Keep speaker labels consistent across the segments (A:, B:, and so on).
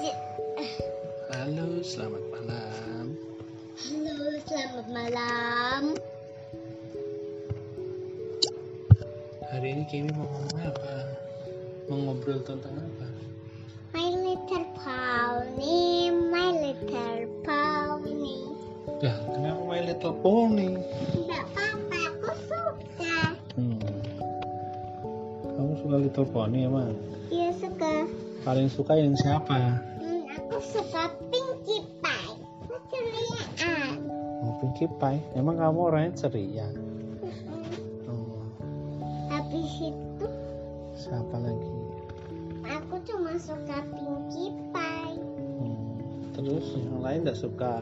A: Ya.
B: Selamat malam.
A: Halo, selamat malam.
B: Hari ini Kimi mau ngomong apa? Mau ngobrol tentang apa?
A: My little pony, my little pony.
B: Lah, kenapa My Little Pony?
A: Enggak apa-apa, aku suka.
B: Hmm. Kamu suka Little Pony emang?
A: Iya suka.
B: Paling suka yang siapa?
A: Hmm, aku suka Pinkie Pie. Keceriaan.
B: Oh, Pinkie Pie. Emang kamu orangnya ceria?
A: Mm-mm.
B: Oh,
A: Habis itu
B: siapa lagi?
A: aku cuma suka Pinkie Pie.
B: Hmm. Terus yang lain nggak suka?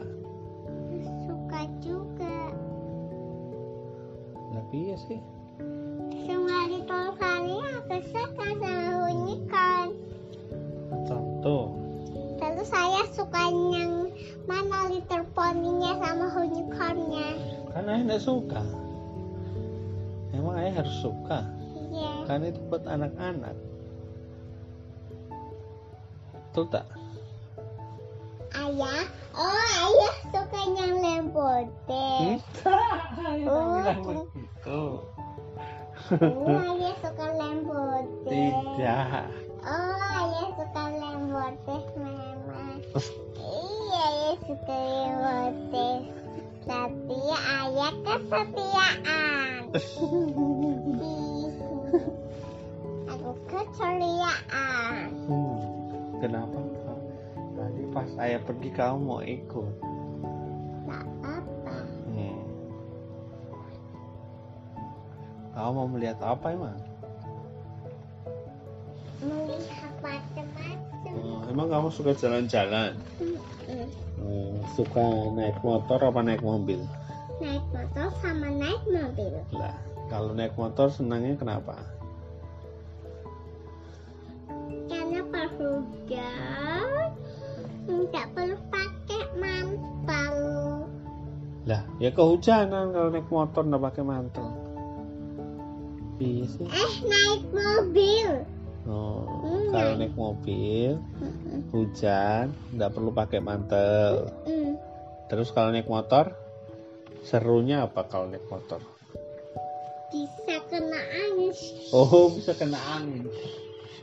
A: Suka juga
B: Tapi ya sih.
A: sama little kali aku suka sama unicorn.
B: Contoh.
A: Lalu saya suka yang mana little pony-nya sama unicorn-nya.
B: Kan ayah nggak suka. Emang ayah harus suka?
A: Iya.
B: kan itu buat anak-anak betul tak
A: Ayah, oh ayah suka yang lembote.
B: Hmm?
A: Oh,
B: begitu
A: oh, ayah suka lembote.
B: tidak
A: Oh, ayah suka lembote, mama. Iya, ayah suka lembote. Tapi ayah kesetiaan. Aku keceriaan.
B: hmm. kenapa Kak? tadi pas ayah pergi kamu mau ikut
A: Gak apa
B: hmm. kamu mau melihat apa emang
A: melihat macam-macam
B: Oh, emang kamu suka jalan-jalan
A: Mm-mm.
B: Eh, suka naik motor apa naik mobil
A: naik motor sama naik mobil
B: lah kalau naik motor senangnya kenapa
A: karena perlu jauh nggak perlu pakai mantel
B: Lah, ya kehujanan kalau naik motor nggak pakai mantel. Iya sih.
A: eh naik mobil
B: Oh,
A: Hmm.
B: kalau naik mobil
A: Mm-mm.
B: hujan nggak perlu pakai mantel.
A: Mm.
B: Terus kalau naik motor serunya apa kalau naik motor?
A: bisa kena angin
B: Oh, bisa kena angin.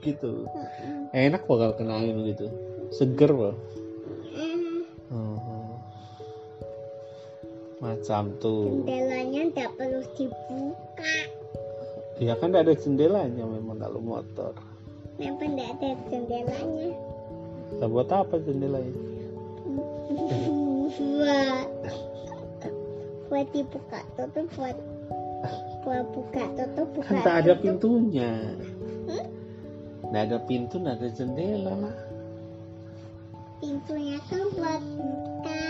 B: Gitu.
A: Mm-mm.
B: Enak bakal kena angin gitu. Seger loh.
A: Mm.
B: Oh. Macam tuh.
A: jendelanya nggak perlu dibuka
B: Ya kan nggak ada jendelanya memang kalau motor.
A: kenapa nggak ada jendelanya
B: Lah buat apa jendelanya?
A: buat buat dibuka tutup buat buat buka tutup buka
B: kan tak ada
A: tutup.
B: pintunya
A: Nah, Hmm?
B: nggak ada pintu nggak ada jendela lah
A: pintunya kan buat buka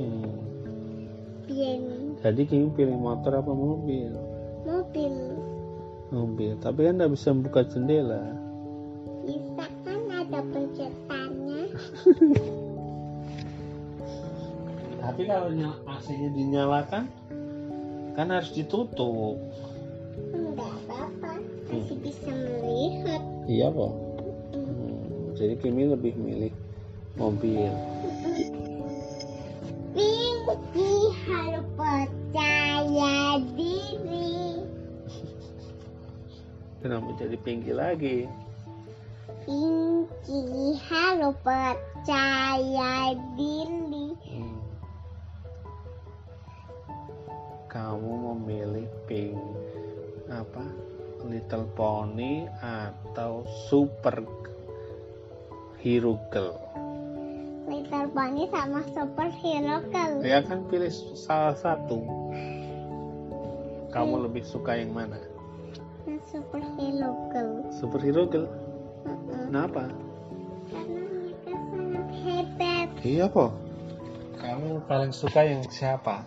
B: hmm.
A: biar
B: jadi kamu pilih motor apa mobil
A: mobil
B: mobil tapi kan nggak bisa buka jendela
A: bisa kan ada pencetannya
B: tapi kalau nyala AC-nya dinyalakan kan harus ditutup
A: enggak apa-apa masih bisa melihat
B: iya kok Hmm, jadi Kimi lebih milih mobil
A: Pinky harus percaya diri
B: kenapa jadi pinggir lagi
A: Pinky harus percaya diri
B: Hmm. Kamu memilih pink apa? Little Pony atau Super Hero Girl?
A: Little Pony sama superhero kalau
B: Ya kan pilih salah satu. Kamu lebih suka yang mana?
A: Nah, superhero girl
B: Superhero Girl?
A: Mm-mm.
B: Kenapa?
A: karena mereka sangat hebat
B: Iya kok. Kamu paling suka yang siapa?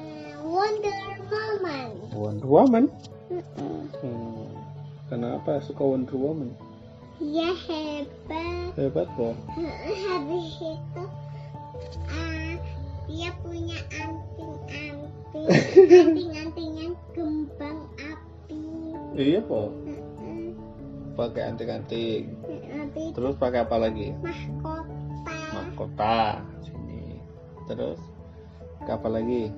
A: Eh, Wonder Woman
B: Wonder Woman.
A: Mm-mm.
B: Hmm. Kenapa suka Wonder Woman?
A: dia Iya, hebat
B: Hebat kok.
A: Eh, habis itu ah, dia punya anting-anting anting-anting yang kembang api
B: Iya kok.
A: Mm-mm.
B: Pakai antik-antik.
A: Eh, habis itu
B: Terus pakai apa lagi?
A: mahkota
B: kota sini. Terus ke apa lagi?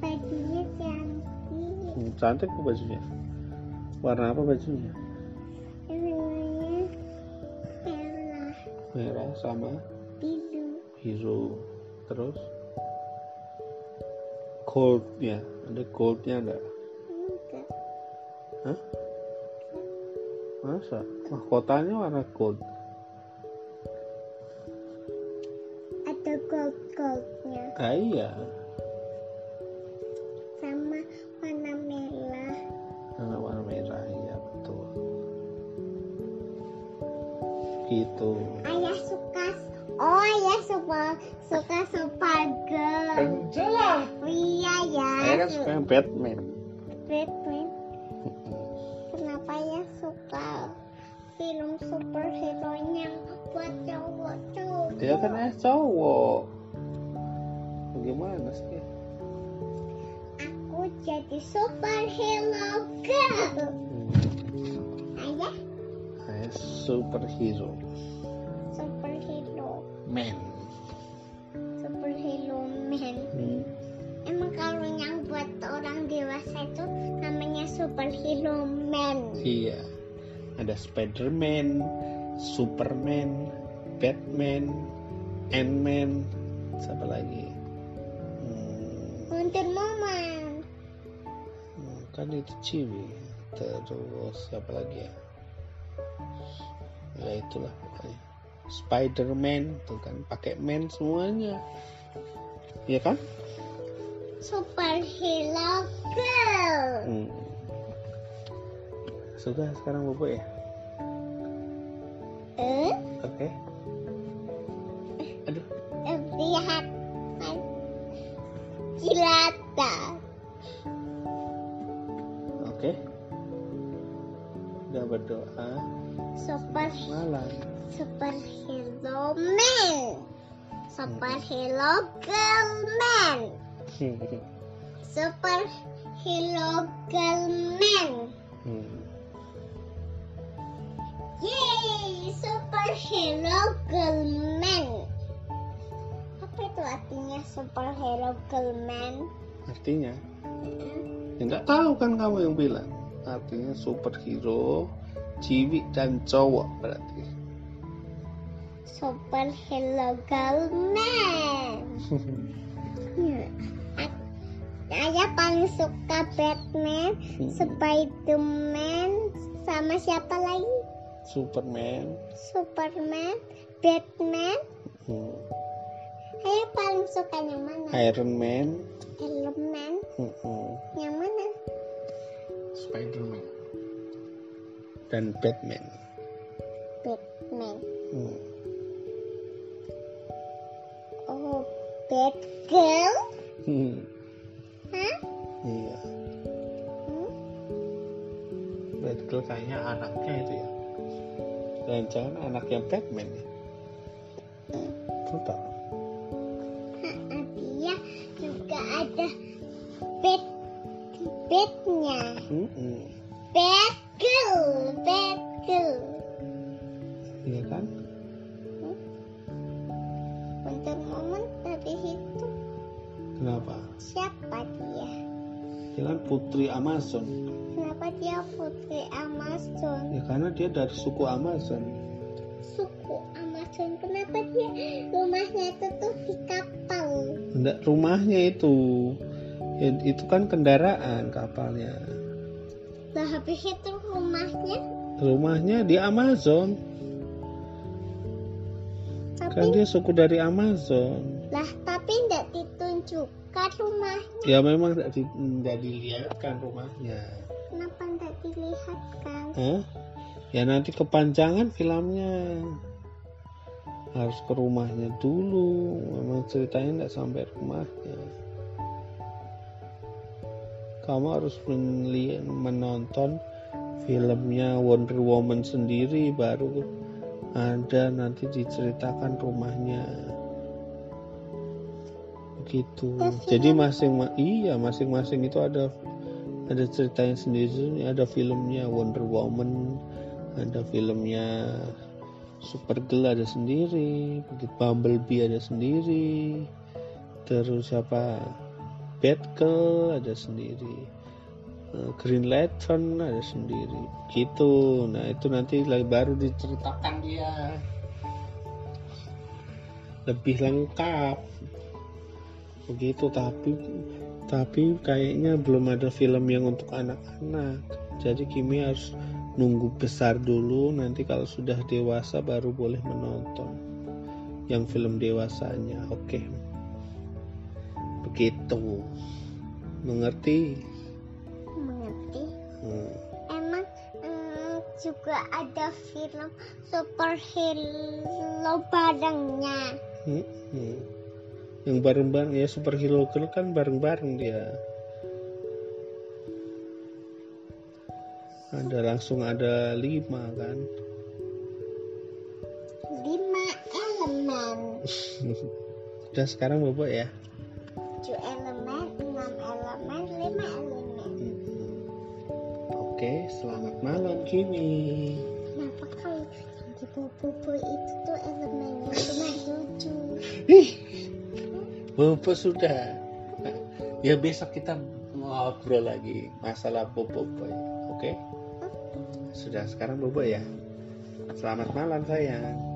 A: bajunya cantik
B: Hmm, Cantik tuh bajunya. Warna apa bajunya?
A: warnanya merah
B: Merah sama
A: biru
B: biru. Terus goldnya, ya, ada goldnya enggak?
A: enggak
B: Hah? Masa? Mahkotanya warna gold.
A: ada gold goldnya
B: Ah, iya.
A: sama warna merah
B: Nah, warna merah iya betul. Gitu.
A: ayah suka oh ayah suka suka Supergirl
B: Enggak lah.
A: iya ya
B: Saya kan suka yang Batman.
A: Batman kenapa ya suka film superhero yang buat cowok cowok
B: Dia kan eh cowok. Bagaimana sih?
A: aku jadi superhero girl
B: Hmm,
A: ayah
B: Saya superhero.
A: superhero
B: Man.
A: superhero man
B: Hmm.
A: emang kalau yang buat orang dewasa itu namanya superhero man
B: Iya. Ada Spiderman, Superman, Batman, Ant-Man, siapa lagi? Hmm,
A: Wonder Woman
B: hmm, kan itu Ciwi. Terus siapa lagi ya? Ya itulah pokoknya. Spiderman tuh kan pakai man semuanya. Iya kan?
A: superhero girl
B: Hmm. Sudah sekarang bobo ya.
A: eh
B: Oke. Aduh.
A: eh, lihat Mas. cilata
B: Oke. Udah berdoa
A: super
B: malam.
A: superhero man superhero girl man superhero girl man
B: Hmm.
A: yay superhero girl man apa itu artinya superhero girl man
B: Artinya, ya nggak tahu kan kamu yang bilang. Artinya superhero, ciwi dan cowok berarti.
A: superhero girl man Hmm. A- Ayah paling suka Batman, Spiderman, sama siapa lagi?
B: Superman.
A: Superman, Batman.
B: Hmm.
A: Ayah paling suka yang mana?
B: Iron Man.
A: Iron Man,
B: Hmm.
A: yang mana?
B: Spiderman. Dan Batman.
A: Batman.
B: Hmm.
A: Oh, Batgirl?
B: Hmm.
A: Hah?
B: Iya.
A: Hmm?
B: Batgirl Nah, kayaknya anaknya itu ya dan jangan anaknya Batman ya
A: Eh,
B: Betul.
A: Ha, dia ya. juga ada bat batnya.
B: Mm-mm.
A: Batgirl, Batgirl.
B: iya kan
A: Untuk momen dari situ
B: kenapa
A: siapa dia?
B: dia kan putri Amazon
A: Kenapa dia putri Amazon?
B: ya karena dia dari suku Amazon
A: Suku Amazon. Kenapa dia rumahnya itu tuh di kapal?
B: enggak rumahnya itu Ya, itu kan kendaraan kapalnya
A: Lah habis itu rumahnya
B: rumahnya di Amazon kan
A: tapi
B: dia suku dari Amazon
A: lah tapi tidak ditunjukkan rumahnya.
B: ya memang tidak di, nggak dilihatkan rumahnya
A: Kenapa tidak dilihatkan?
B: Hah? Ya nanti kepanjangan filmnya harus ke rumahnya dulu. Memang ceritanya nggak sampai rumahnya. Kamu harus meli- menonton filmnya Wonder Woman sendiri baru ada nanti diceritakan rumahnya. Begitu.
A: Terus
B: Jadi
A: film-
B: masing iya masing-masing itu ada ada ceritanya sendiri ada filmnya Wonder Woman ada filmnya Supergirl ada sendiri, Bumblebee ada sendiri, terus siapa Batgirl ada sendiri, eh, Green Lantern ada sendiri, gitu. Nah itu nanti lagi baru diceritakan dia lebih lengkap, begitu. Tapi tapi kayaknya belum ada film yang untuk anak-anak. Jadi Kimi harus nunggu besar dulu nanti kalau sudah dewasa baru boleh menonton yang film dewasanya oke begitu mengerti
A: mengerti
B: Hmm.
A: emang mm, juga ada film superhero barengnya
B: Hmm, hmm. yang bareng-bareng ya superhero girl kan bareng-bareng dia ada langsung ada lima kan
A: lima elemen
B: udah sekarang bapak ya
A: tujuh elemen enam elemen lima elemen
B: Hmm. oke selamat malam Kimi
A: kenapa kalau yang di bobo itu tuh elemennya cuma tujuh
B: Ih, bobo sudah. Nah, Ya besok kita ngobrol lagi masalah bobo boy. Oke? Sudah sekarang bobo ya. Selamat malam sayang.